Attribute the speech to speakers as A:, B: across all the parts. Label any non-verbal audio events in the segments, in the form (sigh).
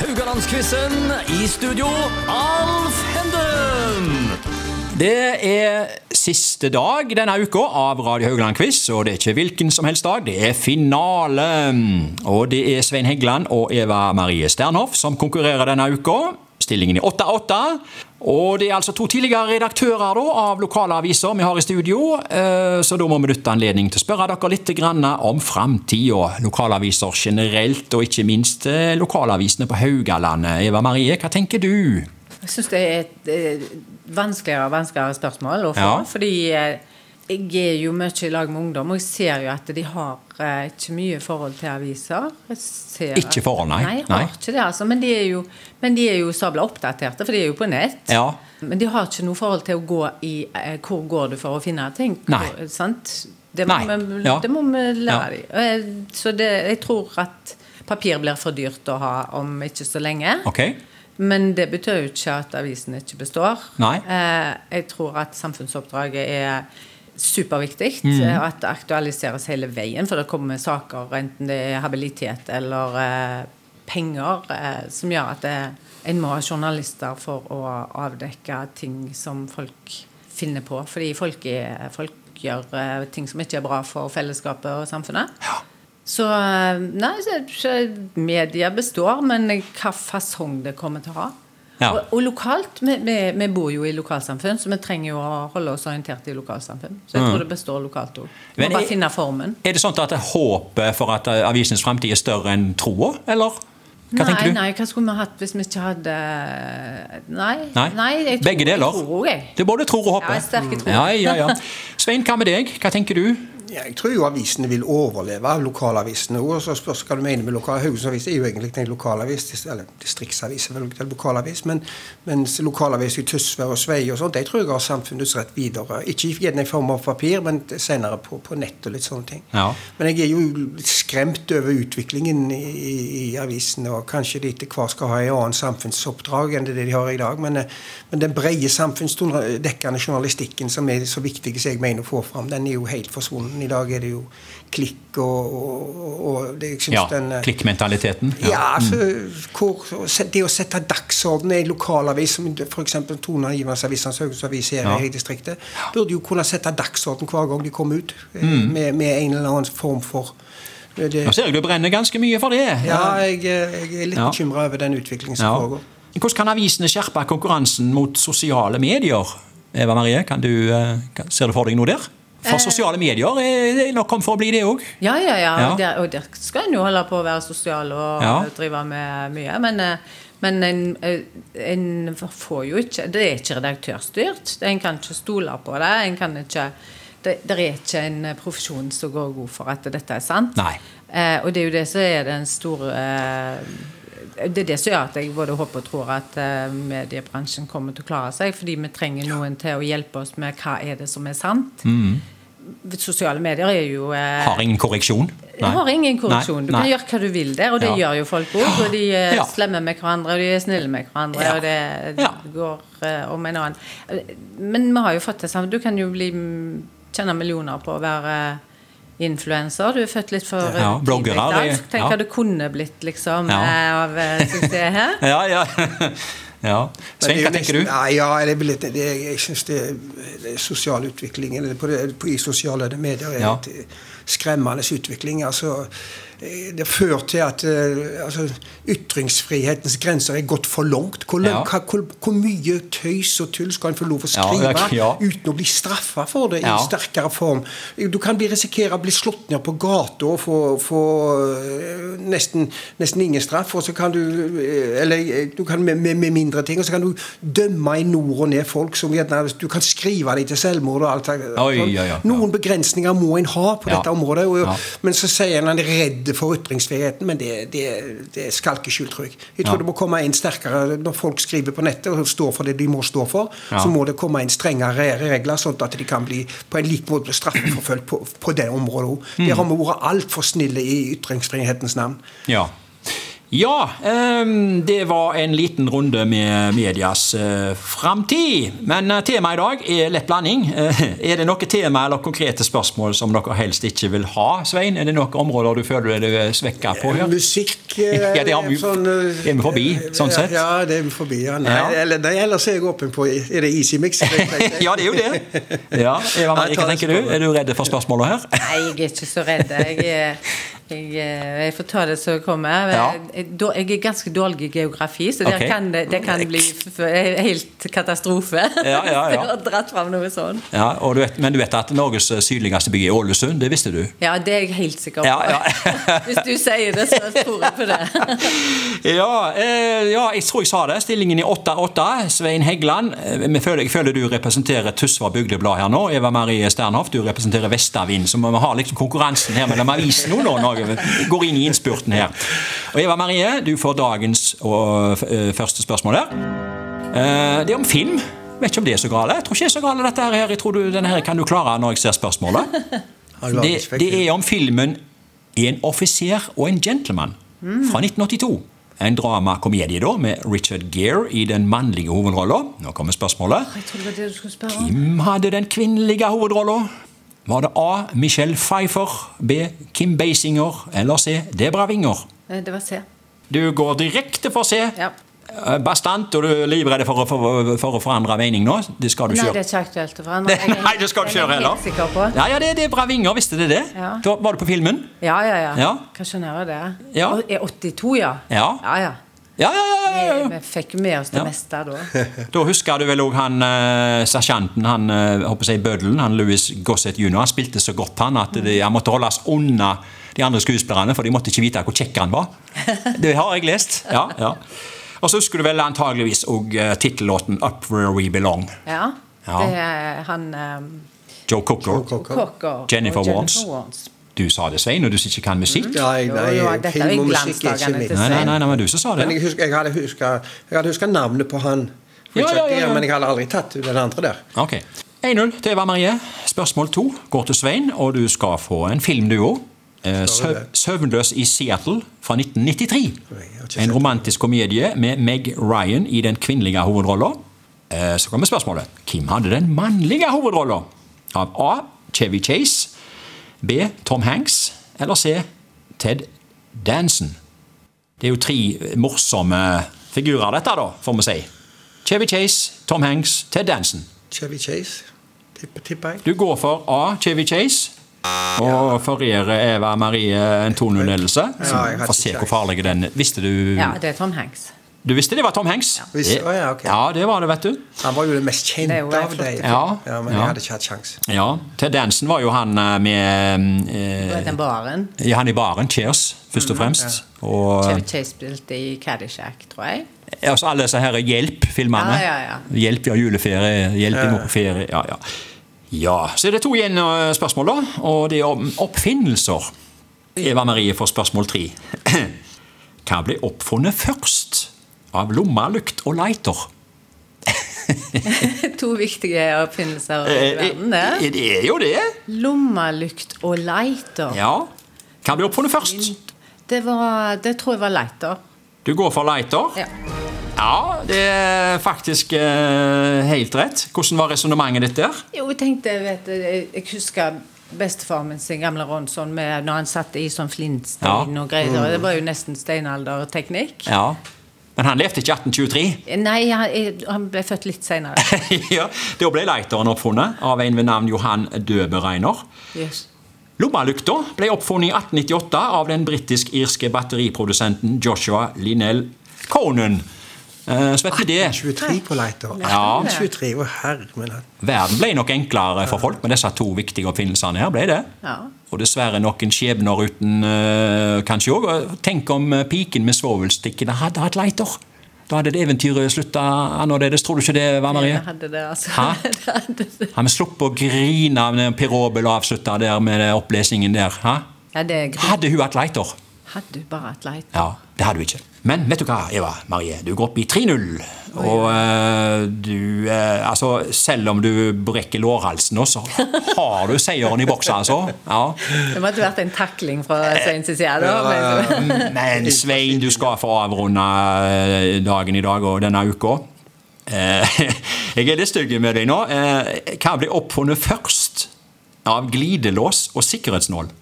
A: Rogalandsquizen i studio, Alf Henden!
B: Det er siste dag denne uka av Radio Haugland-quiz, og det er ikke hvilken som helst dag, det er finale. Og det er Svein Heggeland og Eva Marie Sternhoff som konkurrerer denne uka. Stillingen er 8-8. Og det er altså to tidligere redaktører da, av lokale aviser vi har i studio, eh, så da må vi nytte anledningen til å spørre dere litt grann om framtida. Lokalaviser generelt, og ikke minst eh, lokalavisene på Haugalandet. Eva Marie, hva tenker du?
C: Jeg syns det er et eh, vanskeligere og vanskeligere spørsmål å få.
B: Ja.
C: Fordi eh, jeg er jo mye i lag med ungdom, og jeg ser jo at de har eh, ikke mye forhold til aviser. Jeg ser
B: Ikke
C: at-
B: forhold, nei.
C: Nei,
B: Nei.
C: har ikke det, altså. Men de er jo, men de er jo sabla oppdaterte, for de er jo på nett.
B: Ja.
C: Men de har ikke noe forhold til å gå i eh, Hvor går du for å finne ting? Hvor,
B: Nei.
C: eh, Sant? Det må,
B: Nei.
C: Vi,
B: Ja.
C: det må vi
B: Ja.
C: lære dem. Eh, Så det, jeg tror at papir blir for dyrt å ha om ikke så lenge.
B: Ok?
C: Men det betyr jo ikke at avisen ikke består.
B: Nei.
C: Eh, jeg tror at samfunnsoppdraget er superviktig, eh, og at det aktualiseres hele veien. For det kommer saker, enten det er habilitet eller eh, penger, eh, som gjør at det, en må ha journalister for å avdekke ting som folk finner på. Fordi folk, er, folk gjør eh, ting som ikke er bra for fellesskapet og samfunnet. Så eh, nei, så, så media består, men hva fasong det kommer til å ha.
B: Ja.
C: Og, og lokalt, vi, vi, vi bor jo i lokalsamfunn, så vi trenger jo å holde oss orientert i lokalsamfunn. Så jeg tror det består lokalt òg. Må
B: Mm. Men
C: bare
B: jeg-
C: finne formen.
B: Er det sånn at det er håpet for at eh, avisens framtid er større enn troa, eller? Hva
C: nei,
B: tenker du?
C: nei, hva skulle vi hatt hvis vi ikke hadde Nei.
B: Nei?
C: jeg tror,
B: Begge deler?
C: Jeg tror jeg.
B: Det er både tror og håpe.
C: Ja, jeg sterke tror.
B: Ja, ja, ja. Svein, hva med deg? Hva tenker du?
D: Ja, Jeg tror jo avisene vil overleve, lokalavisene òg. Så spørs hva du mener med lokal. Haugesundsavis er jo egentlig en lokalavis, dis- eller distriktsavis, er vel ikke en lokalavis, men, mens lokalavis i Tysvær og Svei og sånt, de tror jeg har samfunnets rett videre. Ikke i- gjerne i form av papir, men senere på, på nett og litt sånne ting.
B: Ja.
D: Men jeg er jo litt skremt over utviklingen i, i, i avisene, og kanskje de etter hvert skal ha en annen samfunnsoppdrag enn det de har i dag. Men, eh, men den brede samfunnsdekkende journalistikken som er så viktig som jeg mener å få fram, den er jo helt forsvunnet. I dag er det jo klikk og, og, og, og det, jeg synes
B: Ja,
D: den, eh,
B: Klikkmentaliteten.
D: ja, altså, hvor, Det å sette dagsorden i en lokalavis, som f.eks. Tone Iversavisens Haugesundavis her
B: Ja. Mm.
D: i distriktet, burde jo kunne sette dagsorden hver gang de kom ut, eh, med, med en eller annen form for eh, det,
B: Nå ser jeg du brenner ganske mye for det.
D: Ja, jeg, eh, jeg er litt
B: Ja.
D: bekymret bekymra over den utviklingen som
B: Ja.
D: foregår.
B: Hvordan kan avisene skjerpe konkurransen mot sosiale medier? Eva Marie, kan du, eh, kan- ser du for deg noe der?
C: Eh.
B: For sosiale medier er er nok kommet for å bli det òg.
C: Ja, ja, ja.
B: Ja.
C: Og Der, og der skal en jo holde på å være sosial og
B: Ja.
C: drive med mye. Men, eh, men en, eh, en får jo ikke Det er ikke redaktørstyrt. En kan ikke stole på det. En kan ikke det, det er ikke en profesjon som går god for at dette er sant.
B: Nei.
C: Eh, og det er jo det som er den store eh, Det er det som gjør at jeg både håper og tror at eh, mediebransjen kommer til å klare seg, fordi vi trenger noen til å hjelpe oss med hva er det som er sant. Sosiale medier er jo eh,
B: Mm. Har ingen korreksjon.
C: jeg har ingen korrupsjon.
B: Nei,
C: Du
B: nei.
C: kan gjøre hva du vil der, og det
B: Ja.
C: gjør jo folk òg. Og de er
B: Ja.
C: slemme med hverandre, og de er snille med hverandre,
B: Ja.
C: og det
B: Ja.
C: går eh, om en annen. Men vi har jo fått det samme. Du kan jo bli tjene millioner på å være influenser. Du er født litt for
B: Ja,
C: eh,
B: bloggere,
C: tidlig, da.
B: det-
C: Tenk
B: ja.
C: hva det kunne blitt, liksom,
B: Ja.
C: eh, av eh,
B: (laughs)
C: suksess her.
B: Ja, ja. ja.
D: Men
B: Svein,
D: det er
B: hva
D: jo
B: tenker
D: nesten-
B: du?
D: Nei, ja, det, er vel litt- det, jeg syns det, det er sosial utvikling eller på, det, på, I sosiale medier er
B: Ja.
D: det et eh, skremmende utvikling. altså eh, det fører til at eh, altså, ytringsfrihetens grenser er gått for langt. Hvor,
B: Ja.
D: lang- hva, hvor, hvor mye tøys og tull skal en få lov å
B: Ja,
D: skrive
B: det er- ja.
D: uten å bli straffa for det i
B: Ja.
D: en sterkere form? Du kan bli risikere å bli slått ned på gata og få, få eh, nesten, nesten ingen straff. Og så kan du eh, Eller eh, du kan med, med, med mindre ting. Og så kan du dømme i nord og ned folk som gjerne Du kan skrive dem til selvmord og alt det der.
B: Oi, oi, oi, ja.
D: Noen begrensninger må en ha på
B: Ja.
D: dette området. Og,
B: Ja.
D: Men så sier en han er redd for ytringsfriheten, men det, det, det er skalkeskjult, tror jeg. Jeg tror
B: Ja.
D: det må komme inn sterkere når folk skriver på nettet og står for det de må stå for.
B: Ja.
D: Så må det komme inn strengere regler, sånn at de kan bli på en lik måte bli straffeforfulgt på,
B: Mm.
D: på det området òg. Der har vi vært altfor snille i ytringsfrihetens navn.
B: Ja. Ja, ehm, det var en liten runde med medias eh, framtid. Men eh, temaet i dag er lett blanding. (laughs) Eh, er det noe tema eller konkrete spørsmål som dere helst ikke vil ha, Svein? Er det noen områder du føler du er svekka på? her?
D: Musikk eh,
B: Ja, det har vi-
D: eh,
B: det er vi forbi, sånn sett.
D: Ja, det er vi forbi. Ja. Nei,
B: Ja.
D: Eller, nei, ellers er jeg åpen på Er det Easy
B: (laughs)
D: Mix?
B: (laughs) Ja, det er jo det. Ja, Eva Marie, hva tenker du? Er du redd for spørsmålene her?
C: Nei, jeg er ikke så redd. Jeg, er- jeg, er- jeg får ta det som kommer.
B: Ja.
C: Jeg, da- jeg er ganske dårlig i geografi, så
B: Ok.
C: der kan det, det kan bli f f- helt katastrofe. (laughs)
B: Ja, ja, ja.
C: Jeg har dratt fram noe sånn.
B: Ja, og du vet, men du vet at Norges sydligste by er Ålesund, det visste du?
C: Ja, det er jeg helt sikker på.
B: Ja, ja.
C: (laughs) Hvis du sier det, så tror jeg på det.
B: Ja, eh, ja, jeg tror jeg sa det. Stillingen i 8-8. Svein Heggeland, eh, vi føler, jeg føler du representerer Tysvær Bygdeblad her nå. Eva Marie Sternhoft, du representerer Vestavind. Så vi har liksom konkurransen her mellom avisene nå, nå, når vi går inn i innspurten her. Og Eva Marie, du får dagens og, eh, første spørsmål her. Eh, Det er om film. Vet ikke om det er så gale. Jeg tror ikke det er så gale dette her. Jeg tror du, denne her kan du klare når jeg ser spørsmålet. Det, det er om filmen 'En offiser og en gentleman' fra 1982. En dramakomedie da, med Richard Gere i den mannlige hovedrolla. Nå kommer spørsmålet.
C: (laughs) Jeg trodde det var det du skulle spørre om.
B: Hvem hadde den kvinnelige hovedrolla? Var det A. Michelle Pfeiffer, B. Kim Basinger eller C. Debra Winger?
C: Nei, Eh, Det var C.
B: Du går direkte for C.
C: Ja.
B: Eh, Bastant, og du er livredd for, å- for, for å forandre mening nå. Det skal du
C: Nei,
B: kjøre.
C: det er ikke aktuelt å forandre.
B: Det,
C: Jeg er-
B: (laughs) nei, det skal du
C: den er
B: kjøre
C: jeg
B: heller.
C: helt sikker på.
B: Ja, ja, det, det er bra vinger, visste det det?
C: Ja.
B: Da var du på filmen?
C: Ja, ja, ja.
B: Ja.
C: Kan skjønne det.
B: Ja.
C: Og- Er 82, ja?
B: Ja.
C: ja, ja.
B: Ja, ja, ja, ja, ja,
C: Vi fikk med oss det
B: Ja.
C: meste da.
B: ja. Da husker du vel òg han eh, sersjanten, han eh, jeg håper jeg, bøddelen, han Louis Gossett jr. Han spilte så godt han at det, han måtte holdes unna de andre skuespillerne, for de måtte ikke vite hvor kjekk han var. Det har jeg lest. ja, ja. Og så husker du vel antageligvis òg eh, tittellåten 'Up Where We Belong'.
C: Ja.
B: Ja.
C: Det er han um,
B: Joe Cocker.
C: Cocker.
B: Jennifer
C: og
B: Warnes. Du sa det, Svein, og du som ikke kan musikk.
D: Nei, nei,
C: Jo, jo, dette er
D: film og
C: jo
D: musikk er ikke
C: glansdagene
D: mitt.
C: til
B: Nei, nei, nei, nei, men du som sa det.
D: Men jeg, husker, jeg hadde huska jeg hadde huska navnet på han.
B: Ja,
D: Richard
B: ja, ja, ja.
D: Gere, Men jeg hadde aldri tatt den andre der.
B: Ok. 1-0 til Eva Marie. Spørsmål to går til Svein, og du skal få en film, du òg.
D: Skal vi det?
B: 'Søvnløs i Seattle' fra 1993.
D: ikke
B: En
D: sett
B: romantisk komedie med Meg Ryan i den kvinnelige hovedrolla. Eh, Så kommer spørsmålet. Hvem hadde den mannlige hovedrolla? Av A. Chevy Chase. B. Tom Hanks. Eller C. Ted Danson. Det er jo tre morsomme figurer, dette, da, får vi si. Chevy Chase, Tom Hanks, Ted Danson.
D: Chevy Chase, tipper, tipper jeg.
B: Du går for A. Chevy Chase. Og forerer Eva Marie en 2-0-ledelse.
D: Ja, jeg har
B: Få
D: ikke
B: se hvor
D: sjans.
B: farlig den Visste du
C: Ja, det er Tom Hanks.
B: Du visste det var Tom Hanks?
D: Visste-
B: Det-
D: å, ja, ok.
B: ja, det var det, vet du.
D: Han var jo den mest
C: Det
D: kjente
C: er jo
D: av
C: flott.
D: dem.
B: Ja,
D: men
B: ja.
D: jeg hadde ikke hatt sjans.
B: Ja, Ted Danson var jo han eh, med
C: Du
B: eh,
C: vet den baren.
B: ja, Han i baren, Cheers, først
D: Mm,
B: og fremst. Og
C: Chevy Chase spilte i Caddyshack, tror jeg. (laughs)
B: eh, altså alle disse her Hjelp-filmene.
C: Ja, ja, ja.
B: Hjelp, ja, juleferie. Hjelp i morgen, ferie. Ja, ja. ja. Så er det to igjen eh, spørsmål, da. Og det er om oppfinnelser. Eva Marie får spørsmål tre. (clears throat) Hva ble oppfunnet først av lommelykt og lighter?
C: To viktige oppfinnelser i
B: Eh,
C: verden, det.
B: eh, det er jo det.
C: Lommelykt og lighter.
B: Ja. Hva ble oppfunnet først?
C: Det, var, det tror jeg var lighter.
B: Du går for lighter?
C: Ja.
B: Ja, det er faktisk eh, helt rett. Hvordan var resonnementet ditt der?
C: Jo, jeg tenkte, vet du, jeg- jeg husker bestefar min sin gamle Ronson med når han satte i sånn flintstein
B: Ja. Mm.
C: og greier. og Det var jo nesten steinalderteknikk. Eh,
B: Ja. Men han levde ikke 1823.
C: Nei, han, jeg- han ble født
B: (laughs)
C: litt seinere.
B: ja, Da ble lighteren oppfunnet av en ved navn Johan Døbereiner.
C: Yes.
B: Lommelykta ble oppfunnet i 1898 av den britisk-irske batteriprodusenten Joshua Linnell Conan. Eh, så vet vi det.
D: 23 på lighter.
B: Ja.
D: 23, å herre min hatt.
B: Verden ble nok enklere for folk med disse to viktige oppfinnelsene. her, ble det.
C: Ja.
B: Og dessverre noen skjebner uten eh, kanskje òg. Tenk om eh, piken med svovelstikkene hadde hatt lighter! Da hadde det eventyret slutta annerledes. Tror du ikke det, Eva Marie?
C: Jeg hadde det, altså. (laughs)
B: Hæ?
C: Det hadde det.
B: Har vi sluppet å grine av den pirobel avslutta der med opplesningen der? Hæ?
C: Ja, det er gri-
B: Hadde hun hatt lighter?
C: Hadde du bare hatt light?
B: Ja, Det hadde du ikke. Men vet du hva, Eva Marie? Du går opp i 3-0. Og eh, du eh, Altså, selv om du brekker lårhalsen nå, så har du seieren i boksa, altså. Ja.
C: Det måtte vært en takling fra
B: Eh,
C: Sveins side. Da, men-
B: (laughs) Men Svein, du skal få avrunde eh, dagen i dag og denne uka. Eh, (laughs) Jeg er litt stygg med deg nå. Eh, Hva ble oppfunnet først av glidelås og sikkerhetsnål?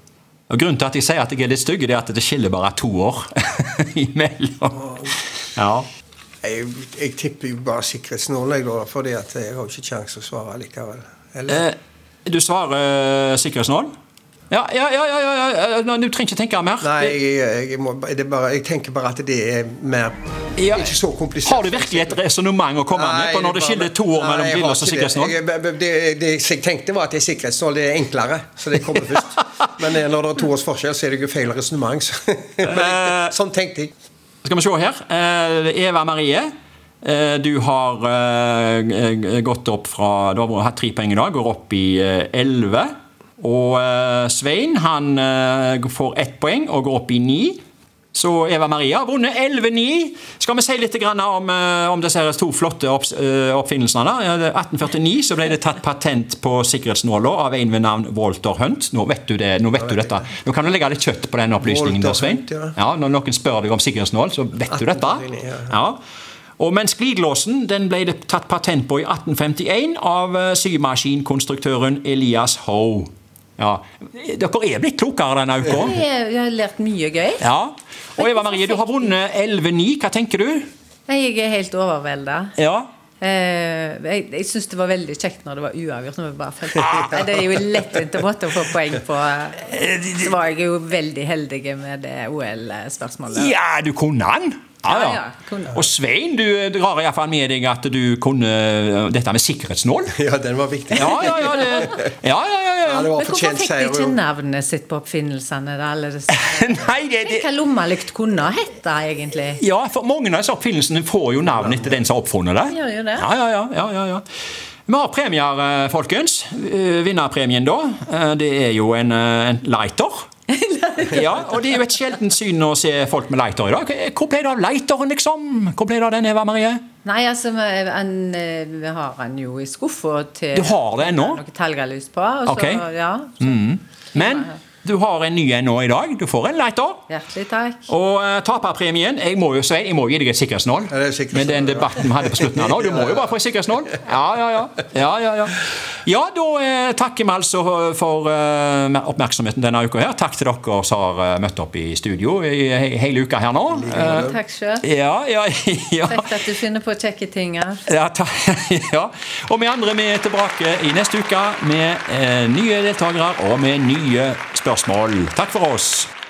B: Og Grunnen til at jeg sier at jeg er litt stygg, det er at det skiller bare to år (laughs) imellom. Ja.
D: Jeg, jeg tipper jo bare sikkerhetsnål, jeg, da, fordi at jeg har jo ikke kjangs å svare likevel. Eller?
B: Eh, Du svarer eh, sikkerhetsnål? Ja, ja, ja, ja, ja, ja, ja. nå, Du trenger ikke tenke mer.
D: Nei, jeg, jeg, må, det er bare, jeg tenker bare at det er mer
B: Ja.
D: Ikke så komplisert.
B: Har du virkelig et resonnement å komme med på når det
D: bare-
B: skiller to år
D: Nei,
B: mellom
D: jeg har
B: glidelås og
D: ikke det.
B: sikkerhetsnål?
D: Jeg- jeg- Det, det jeg tenkte, var at det er sikkerhetsnål, det er enklere, så det kommer først.
B: (laughs)
D: Men eh, når det er to års forskjell, så er det jo feil resonnement. så- (laughs) Men
B: Eh.
D: jeg- Sånn tenkte jeg.
B: Skal vi se her. Eh, Eva Marie, eh, du har eh, g- gått opp fra Du har hatt tre poeng i dag, går opp i eh, 11. Og eh, Svein han eh, får ett poeng og går opp i 9. Så Eva Marie har vunnet 11-9. Skal vi si litt grann om, eh, om disse her to flotte opps- eh, oppfinnelsene? da? Ja, det- 1849 så ble det tatt patent på sikkerhetsnåla av en ved navn Walter Hunt. Nå vet du, det, nå vet du dette. Nå kan du legge litt kjøtt på den opplysningen. da,
D: Walter
B: Svein.
D: Hunt, ja.
B: Ja, Når noen spør deg om sikkerhetsnål, så vet du dette.
D: 1849, ja.
B: Ja. Og mens glidelåsen den ble det tatt patent på i 1851 av eh, symaskinkonstruktøren Elias Hoe. Ja. Dere er blitt klokere denne uka.
C: (laughs) Jeg, jeg har lært mye gøy.
B: Ja. Og Eva Marie, du har vunnet 11-9. Hva tenker du?
C: Nei, Jeg er helt overvelda.
B: Ja.
C: Eh, jeg jeg syns det var veldig kjekt når det var uavgjort. Når vi bare følte-
B: (laughs)
C: Nei, det er jo en lettvint måte å få poeng på.
B: Eh,
C: Så var jeg jo veldig heldig med det OL-spørsmålet.
B: Ja, du kunne den!
C: Ja, ja, kunne.
B: Og Svein, du eh, drar iallfall med deg at du kunne eh, dette med sikkerhetsnål.
D: Ja, den var viktig.
B: Ja, ja, ja. Det, ja, ja, ja, ja.
D: Ja,
C: Men
D: det var
C: hvorfor
D: fortjent
C: fikk de
D: seier.
C: ikke
D: jo.
C: navnet sitt på oppfinnelsene? Da, alle
B: (laughs)
C: disse?
B: Nei, det, det
C: Hva lommelykt kunne ha hett da, egentlig?
B: Ja, for mange av disse oppfinnelsene får jo navn etter den som har oppfunnet det.
C: Gjør jo det.
B: Ja, ja, ja, ja, ja, ja. Vi har premier, eh, folkens. Eh, Vinnerpremien da, eh, det er jo en, eh, en lighter. ja, og det er jo et sjeldent syn å se folk med lighter i dag. Eh, Hvor ble det av lighteren, liksom? Hvor ble det av den, Eva Marie?
C: Nei, altså, vi, han, eh, vi har han jo i skuffa til
B: Du har det ennå?
C: Noe talgalys på. Og så,
B: Ok.
C: ja,
B: Men du har en ny en nå i dag. Du får en lighter.
C: hjertelig takk.
B: Og eh, taperpremien Jeg må jo si, jeg må gi deg et sikkerhetsnål.
D: Ja, det er sikkerhetsnål,
B: Med den debatten vi hadde på slutten her nå. Du må jo bare få et sikkerhetsnål. Ja, ja, ja. Ja, ja, ja. ja da eh, takker vi altså for eh, oppmerksomheten denne uka her. Takk til dere som har eh, møtt opp i studio i he- hele uka her nå. Eh,
C: Takk sjøl.
B: Ja, ja, (laughs) ja.
C: Kjekt at du finner på kjekke ting. her.
B: Ja, ta, (laughs) ja. Og vi andre vi er tilbake i neste uke med eh, nye deltakere og med nye spørsmål. Takk for oss.